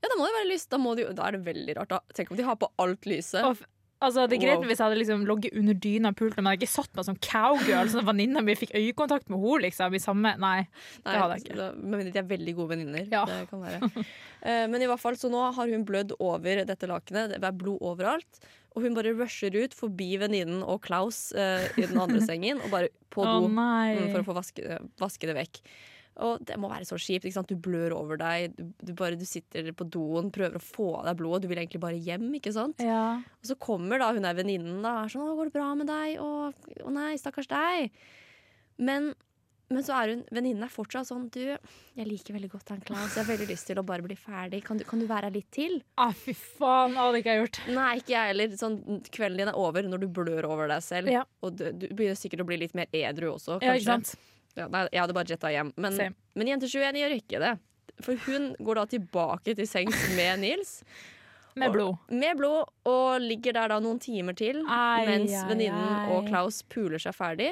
Ja, da må det være lyst. Da, må de, jo- da er det veldig rart. Da. Tenk om de har på alt lyset. Å, f- Altså, det er greit Wow. hvis jeg hadde liksom ligget under dyna og pult, men jeg hadde ikke satt meg som cowgirl. Sånn at venninna mi fikk øyekontakt med henne, liksom. I samme Nei. Nei, Det hadde jeg ikke. da- Med mindre de er veldig gode venninner. Ja. Det kan være. Eh, Men i hvert fall, så nå har hun blødd over dette lakenet. Det er blod overalt. Og hun bare rusher ut forbi venninnen og Klaus eh, i den andre sengen og bare på Å do mm, nei. for å få vaske, vaske det vekk. Og det må være så kjipt. ikke sant? Du blør over deg. Du, du, bare, du sitter på doen, prøver å få av deg blodet. Du vil egentlig bare hjem. ikke sant? Ja. Og så kommer da hun der venninnen da, og er sånn 'Å, går det bra med deg?' 'Å, å nei, stakkars deg'. Men, men så er hun venninnen er fortsatt sånn 'Du, jeg liker veldig godt han Klaus. Jeg har veldig lyst til å bare bli ferdig. Kan du, kan du være her litt til?' Ah, fy faen, det hadde ikke jeg gjort. Nei, ikke jeg heller. Sånn, kvelden din er over når du blør over deg selv. Ja. Og du, du begynner sikkert å bli litt mer edru også, kanskje. Ja, ikke sant? Ja, nei, jeg hadde bare jetta hjem. Men, Same. men jente 21 gjør ikke det. For hun går da tilbake til sengs med Nils, Med blod. med blod, og ligger der da noen timer til Ai, mens ai, venninnen og ai. Klaus puler seg ferdig,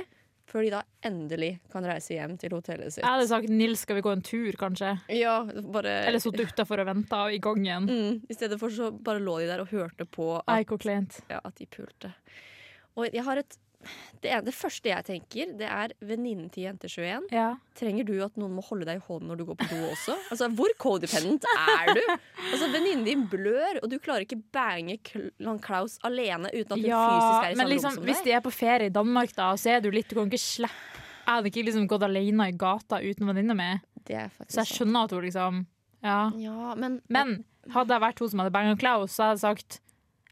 før de da endelig kan reise hjem til hotellet sitt. Jeg hadde sagt 'Nils, skal vi gå en tur', kanskje? Ja, bare... Eller sittet utafor og venta i gangen. Mm, I stedet for så bare lå de der og hørte på at, Nei, hvor kleint. ja, at de pulte. Og jeg har et... Det, ene- det første jeg tenker, det er venninnen til jente 21. Ja. Trenger du at noen må holde deg i hånden når du går på do også? Altså, Hvor codependent er du? Altså, Venninnen din blør, og du klarer ikke bange Kl- han Klaus alene uten at hun fysisk er ja, i men samme liksom, rom hvis som deg. de er på ferie i Danmark, da, så er du litt Du kan ikke slippe Jeg hadde ikke liksom gått alene i gata uten venninna mi, Det er faktisk så jeg sant. skjønner at hun liksom Ja. Ja, men, Men hadde jeg vært hun som hadde banga Klaus, så hadde jeg sagt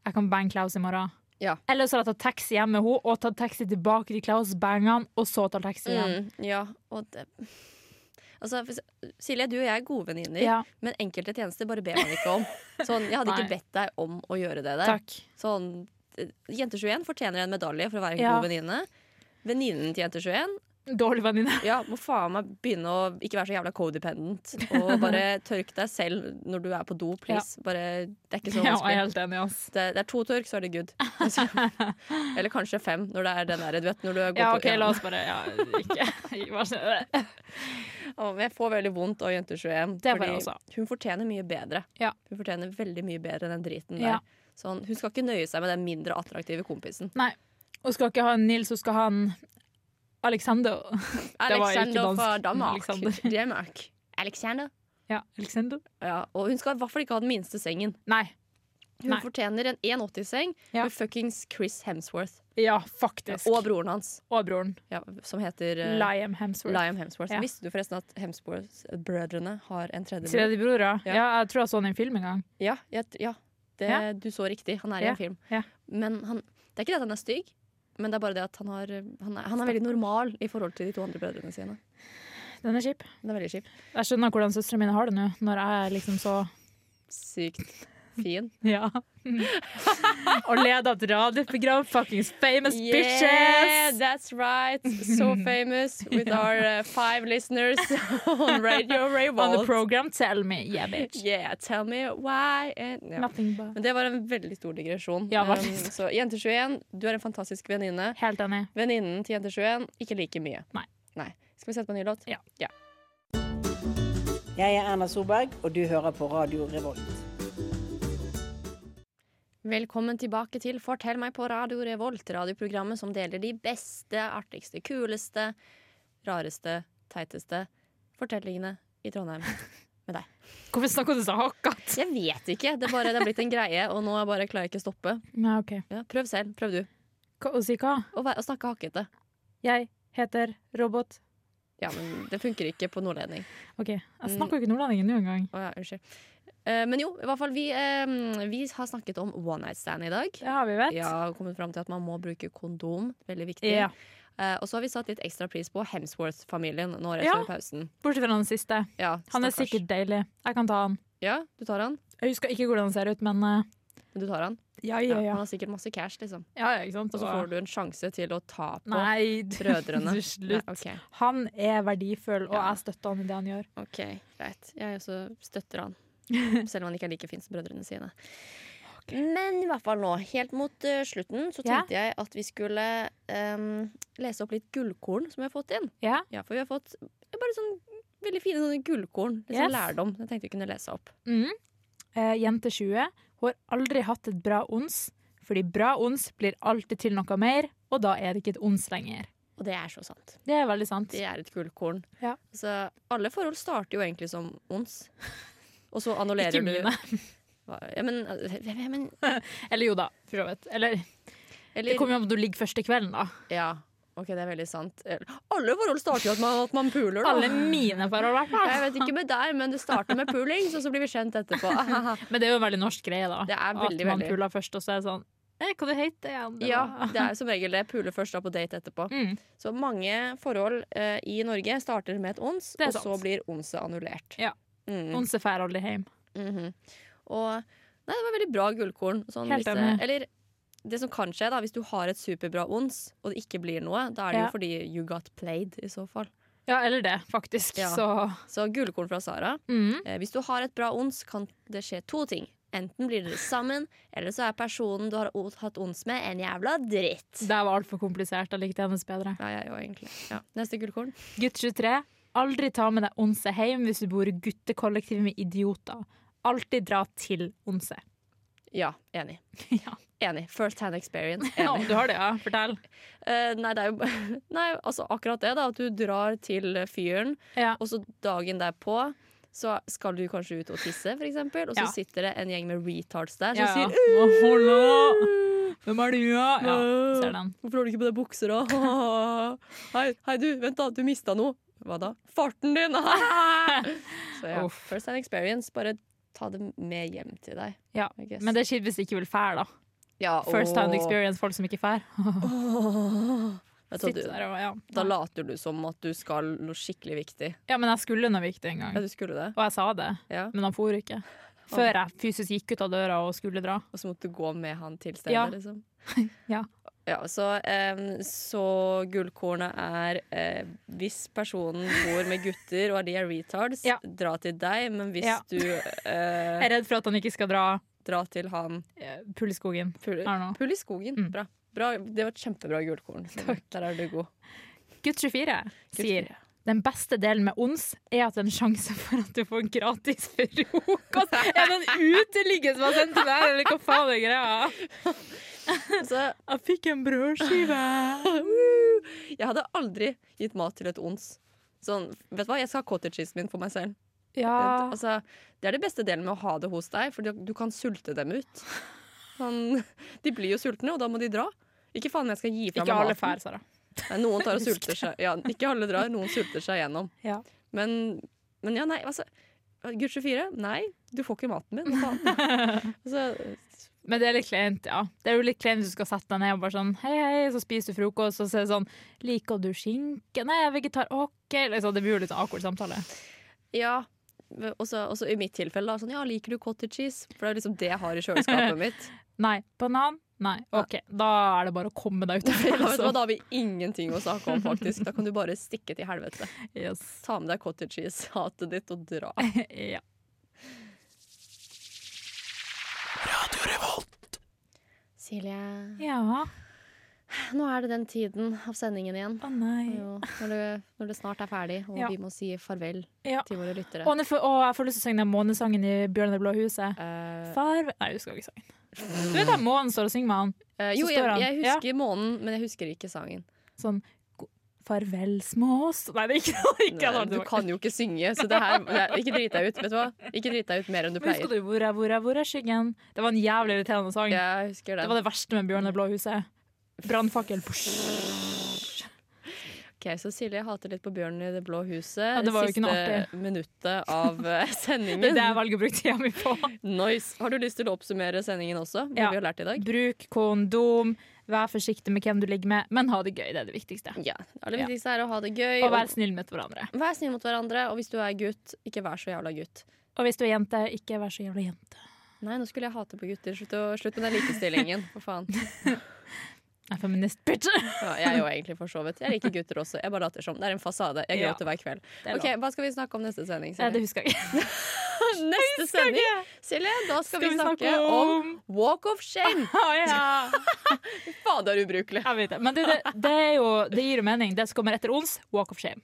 jeg kan bange Klaus i morgen. Ja. Eller så hadde jeg tatt taxi hjem med henne og tatt taxi tilbake til Klaus, banga han, og så tatt taxi hjem. mm, Ja, og det Altså, hvis, Silje, du og jeg er gode venninner, Ja, men enkelte tjenester bare ber man ikke om. Sånn, Jeg hadde ikke Nei. bedt deg om å gjøre det der. takk. Sånn, eh, Jenter 21 fortjener en medalje for å være en Ja. god venninne. Venninnen til Jenter 21 Dårlig venninne. Ja, må faen meg begynne å ikke være så jævla codependent. Og bare tørk deg selv når du er på do, please. Bare, det er ikke så Ja, jeg er vanskelig. helt enig, ass. Det, det er to tørk, så er det good. Eller kanskje fem, når det er den der. Du vet, når du går Ja, på OK, la oss bare Ja, ikke Vær så snill. Å, men jeg får veldig vondt av jenter 21. Det får fordi jeg også. Hun fortjener mye bedre. Ja. Hun fortjener veldig mye bedre enn den driten Ja. der. Sånn, hun skal ikke nøye seg med den mindre attraktive kompisen. Nei. Hun skal ikke ha en Nils, hun skal ha en Alexander. var ikke Alexander fra dansk, men Danmark. Alexander. Danmark. Alexander. Ja, Alexander? Ja, og hun skal i hvert fall ikke ha den minste sengen. Nei. Hun Nei. fortjener en 1,80-seng Ja. med fuckings Chris Hemsworth. Ja, faktisk. Og broren hans, Og broren. ja, som heter eh, Liam Hemsworth. Liam Hemsworth. Ja. Visste du forresten at Hemsworth-brødrene har en tredje bror? Tredjebror, ja. Ja. ja. Jeg tror jeg så den i en film en gang. Ja, jeg, tr- ja, det, Ja. du så riktig. Han er i Ja, en film. ja. Men han, det er ikke det at han er stygg, men det er bare det at han, har, han, er, han er veldig normal i forhold til de to andre brødrene sine. Den er kjip. Det er veldig kjipt. Jeg skjønner hvordan søstrene mine har det nå, når jeg er liksom så Sykt fin. Ja. og leder et radioprogram, fuckings famous Yeah, bitches! that's right. So famous with our uh, five listeners on Radio On the Revolt. program, tell me. Yeah, bitch. Yeah, tell me why and, ja. Nothing but Men det var en veldig stor digresjon. Ja, veldig Um, stor. så Jenter 21, du er en fantastisk venninne. Helt enig. Venninnen til Jenter 21 ikke like mye. Nei. Skal vi sette på en ny låt? Ja. Jeg er Erna Solberg, og du hører på Radio Revolt. Velkommen tilbake til Fortell meg på Radio Revolt, radioprogrammet som deler de beste, artigste, kuleste, rareste, teiteste fortellingene i Trondheim. med deg. Hvorfor snakker du så hakkete? Jeg vet ikke. Det er bare det er blitt en greie, og nå er jeg bare klarer jeg ikke å stoppe. Nei, OK. Ja, prøv selv. Prøv du. Hva, å si hva? Å, være- å snakke hakkete. Jeg heter Robot. Ja, men det funker ikke på nordlending. OK, jeg snakker jo ikke nordlendingen nå engang. Å ja, unnskyld. Eh, men jo, i hvert fall vi, eh, vi har snakket om one night stand i dag. Det har vi vet. Jeg har kommet fram til at man må bruke kondom. Veldig viktig. Ja. Eh, og så har vi satt litt ekstra pris på Hemsworth-familien nå rett Ja. før pausen. Bortsett fra den siste. Ja, Han er stakkars. sikkert deilig. Jeg kan ta han. Ja, du tar han. Jeg husker ikke hvordan han ser ut, men eh, Men du tar han. ja, Ja, ja, ja. Han har sikkert masse cash, liksom. ja, ja ikke sant? Og så får du en sjanse til å ta på Nei, du- brødrene. du Nei, Slutt. ok. Han er verdifull, og Ja. jeg støtter han i det han gjør. OK, greit. Jeg også støtter han. Selv om han ikke er like fin som brødrene sine. Men i hvert fall nå, helt mot eh, slutten, så Ja. tenkte jeg at vi skulle em, lese opp litt gullkorn som vi har fått inn. Ja, Ja, For vi har fått bare sånn veldig fine sånne gullkorn. Litt Yes. sånn lærdom. Jeg tenkte vi kunne lese opp. Mm. Eh, jente 20. Hun har aldri hatt et bra ons, fordi bra ons blir alltid til noe mer, og da er det ikke et ons lenger. Og det er så sant. Det er veldig sant. Det er et gullkorn. Ja. Så alle forhold starter jo egentlig som ons. Og så annullerer du Ikke mine. Hva- Ja, men, ja, men Eller jo da, for så vidt. Eller eller, det kommer jo an på at du ligger første kvelden, da. Ja, ok, det er veldig sant. Eller- Alle forhold starter jo at man, at man puler, da. Alle mine forhold, i hvert fall. Jeg vet ikke med deg, men det starter med puling, så så blir vi kjent etterpå. Men det er jo en veldig norsk greie, da. Det er veldig, at man veldig. puler først, og så er det sånn eh, Hva du heter du igjen? Det Ja, var- det er som regel det. Pule først, da på date etterpå. Mm. Så mange forhold eh, i Norge starter med et ons, Det er og så sant. blir onset annullert. Ja. Mm. Ons drar aldri hjem. Mhm. Og Nei, det var veldig bra gullkorn. Sånn, Helt hvis, enig. Eller det som kan skje, da, hvis du har et superbra ons, og det ikke blir noe, da er det Ja. jo fordi you got played, i så fall. Ja, eller det, faktisk. Ja. Så Så gullkorn fra Sara. mm. Eh, Hvis du har et bra ons, kan det skje to ting. Enten blir dere sammen, eller så er personen du har o- hatt ons med, en jævla dritt. Det var altfor komplisert. Jeg likte hennes bedre. Ja, jeg jo egentlig. Ja. Neste gullkorn. Gutt 23. Aldri ta med deg onse hjem hvis du bor i guttekollektiv med idioter. Alltid dra til onse. Ja, enig. Ja. Enig. First hand experience. Ja, Enig. du har det, ja. Fortell. Eh, nei, det er jo Nei, altså akkurat det, da. At du drar til fyren, Ja. og så dagen derpå så skal du kanskje ut og tisse, for eksempel og så Ja. sitter det en gjeng med retards der som Ja, sier ja. "Uh!" Å, hallo! Hvem er du, ja? ja ser den. Hvorfor har du ikke på deg bukser, da? hei, hei, du, vent da, du mista noe. Hva da? Farten din! Så ja, Uff. first hand experience. Bare ta det med hjem til deg. Ja. I guess. Men det er kjipt hvis de ikke vil fære, da. Ja, First hand åh. experience, folk som ikke fær. Åh. Vet du, Sitte der hva, du, og- ja. da later du som at du skal noe skikkelig viktig. ja, men jeg skulle noe viktig en gang, Ja, du skulle det? og jeg sa det, Ja. men han for ikke. Før jeg fysisk gikk ut av døra og skulle dra. Og så måtte du gå med han til stedet, Ja. liksom. Ja. Ja, så, em, så gullkornet er eh, hvis personen bor med gutter og de er retards, Ja. dra til deg, men hvis Ja. du Jeg eh, er redd for at han ikke skal dra dra til han eh, Pullskogen. Pull, Her nå. pull i skogen. Mm. Bra. Bra. Det var et kjempebra gullkorn. Der er du god. Gutt 24 Gutt sier den beste delen med ons er at det er en sjanse for at du får gratis frokost. Er det en uteligger som har sendt det der, eller hva faen er greia? Så Jeg fikk en brødskive. jeg hadde aldri gitt mat til et ons. Sånn, vet du hva, jeg skal ha cottage cheesen min for meg selv. Ja. Altså, det er det beste delen med å ha det hos deg, for du, du kan sulte dem ut. Sånn, de blir jo sultne, og da må de dra. Ikke faen om jeg skal gi fra Ikke meg alle maten. fær, Sara. Nei, noen tar og sulter seg ja, Ikke alle drar, noen sulter seg gjennom. Ja. Men, men ja, nei, altså Gud 24, nei, du får ikke maten min. hva faen? Altså, Men det er litt kleint, ja. Det er jo litt kleint hvis du skal sette deg ned og bare sånn hei, hei, så spiser du frokost, og så er det sånn liker du skinke? Nei, jeg er vegetar. OK. Liksom, det blir jo litt sånn awkward samtale. ja. Og så og så i mitt tilfelle, da. Sånn, ja, liker du cottage cheese? For det er liksom det jeg har i kjøleskapet mitt. Nei. Banan? Nei. OK. Da er det bare å komme deg ut av Ja, det. vet du hva, Liksom. da har vi ingenting å snakke om, faktisk. Da kan du bare stikke til helvete. altså. Yes. Ta med deg cottage cheese-hatet ditt og dra. Ja. Silje, ja. nå er det den tiden av sendingen igjen. Å nei. Jo, når, det, når det snart er ferdig, og Ja. vi må si farvel Ja. til våre lyttere. Å, nå får- å, jeg får lyst til å synge den månesangen i Bjørn det blå huset. Eh, Farve Nei, jeg husker ikke sangen. Du vet at månen står og synger med han eh, jo, Så jeg, står han. jeg husker månen, men jeg husker ikke sangen. sånn "God- Farvel, smås. Nei, det er ikke, ikke Nei, jeg tar Du det tilbake. kan jo ikke synge, så det her det er- Ikke drit deg ut, vet du hva? Ikke drit deg ut mer enn du Men pleier. Husker du 'Hvor er, hvor er, hvor er skyggen'? Det var en jævlig irriterende sang. Jeg husker Det var det. det verste med Bjørn det blå huset. Brannfakkel. Psh. Ok, Så Silje hater litt på Bjørn i Det blå huset. det var jo ikke Siste noe minuttet av eh, Det er det jeg sendingen. velger å bruke tida mi på. Nice. Har du lyst til å oppsummere sendingen også? Hva Ja. vi har lært i dag? Bruk kondom, vær forsiktig med hvem du ligger med, men ha det gøy. Det er det viktigste. Ja. Det aller viktigste er å ha det gøy. Og og- vær snill mot hverandre. Vær snill mot hverandre, og hvis du er gutt, ikke vær så jævla gutt. Og hvis du er jente, ikke vær så jævla jente. Nei, nå skulle jeg hate på gutter. Slutt, å, slutt med den likestillingen, for faen. Jeg er feminist, bitch. Ja, jeg er jo egentlig for så vidt. Jeg liker gutter også. Jeg bare later som. Det er en fasade. Jeg Ja. gråter hver kveld. er Ok, Hva skal vi snakke om neste sending? Eh, Silje? Det husker jeg ikke. Neste sending, Silje, da skal, vi snakke, om walk of shame! Å, ja. Fader, ubrukelig. Jeg vet det. Men det, det, det, er jo, det gir jo mening. Det som kommer etter ons, walk of shame.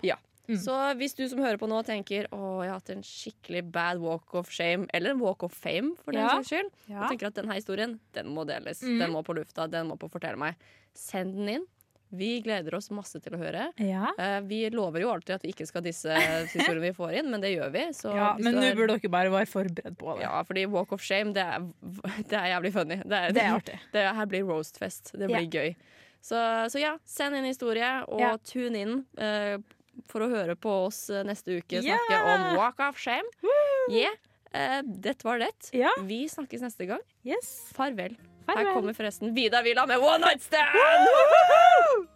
Så hvis du som hører på nå tenker å, jeg har hatt en skikkelig bad walk of shame, eller en walk of fame, for den Ja. saks skyld, og tenker at denne historien den må deles, Mhm. den må på lufta, den må på Fortell meg, send den inn. Vi gleder oss masse til å høre. Ja. Eh, vi lover jo alltid at vi ikke skal disse historiene vi får inn, men det gjør vi. Så ja, hvis men du nå har- burde dere bare være forberedt på det. Ja, fordi walk of shame, det er, det er jævlig funny. Det, er, Det er artig. det her blir roastfest. Det blir gøy. Så, så ja, send inn historie, og Ja. tune inn eh, for å høre på oss eh, neste uke Ja! snakke om walk of shame. Yeah. Eh, det var det. Ja. Vi snakkes neste gang. Yes. Farvel. Farvel. Her kommer forresten Vida Villa med One Night Stand!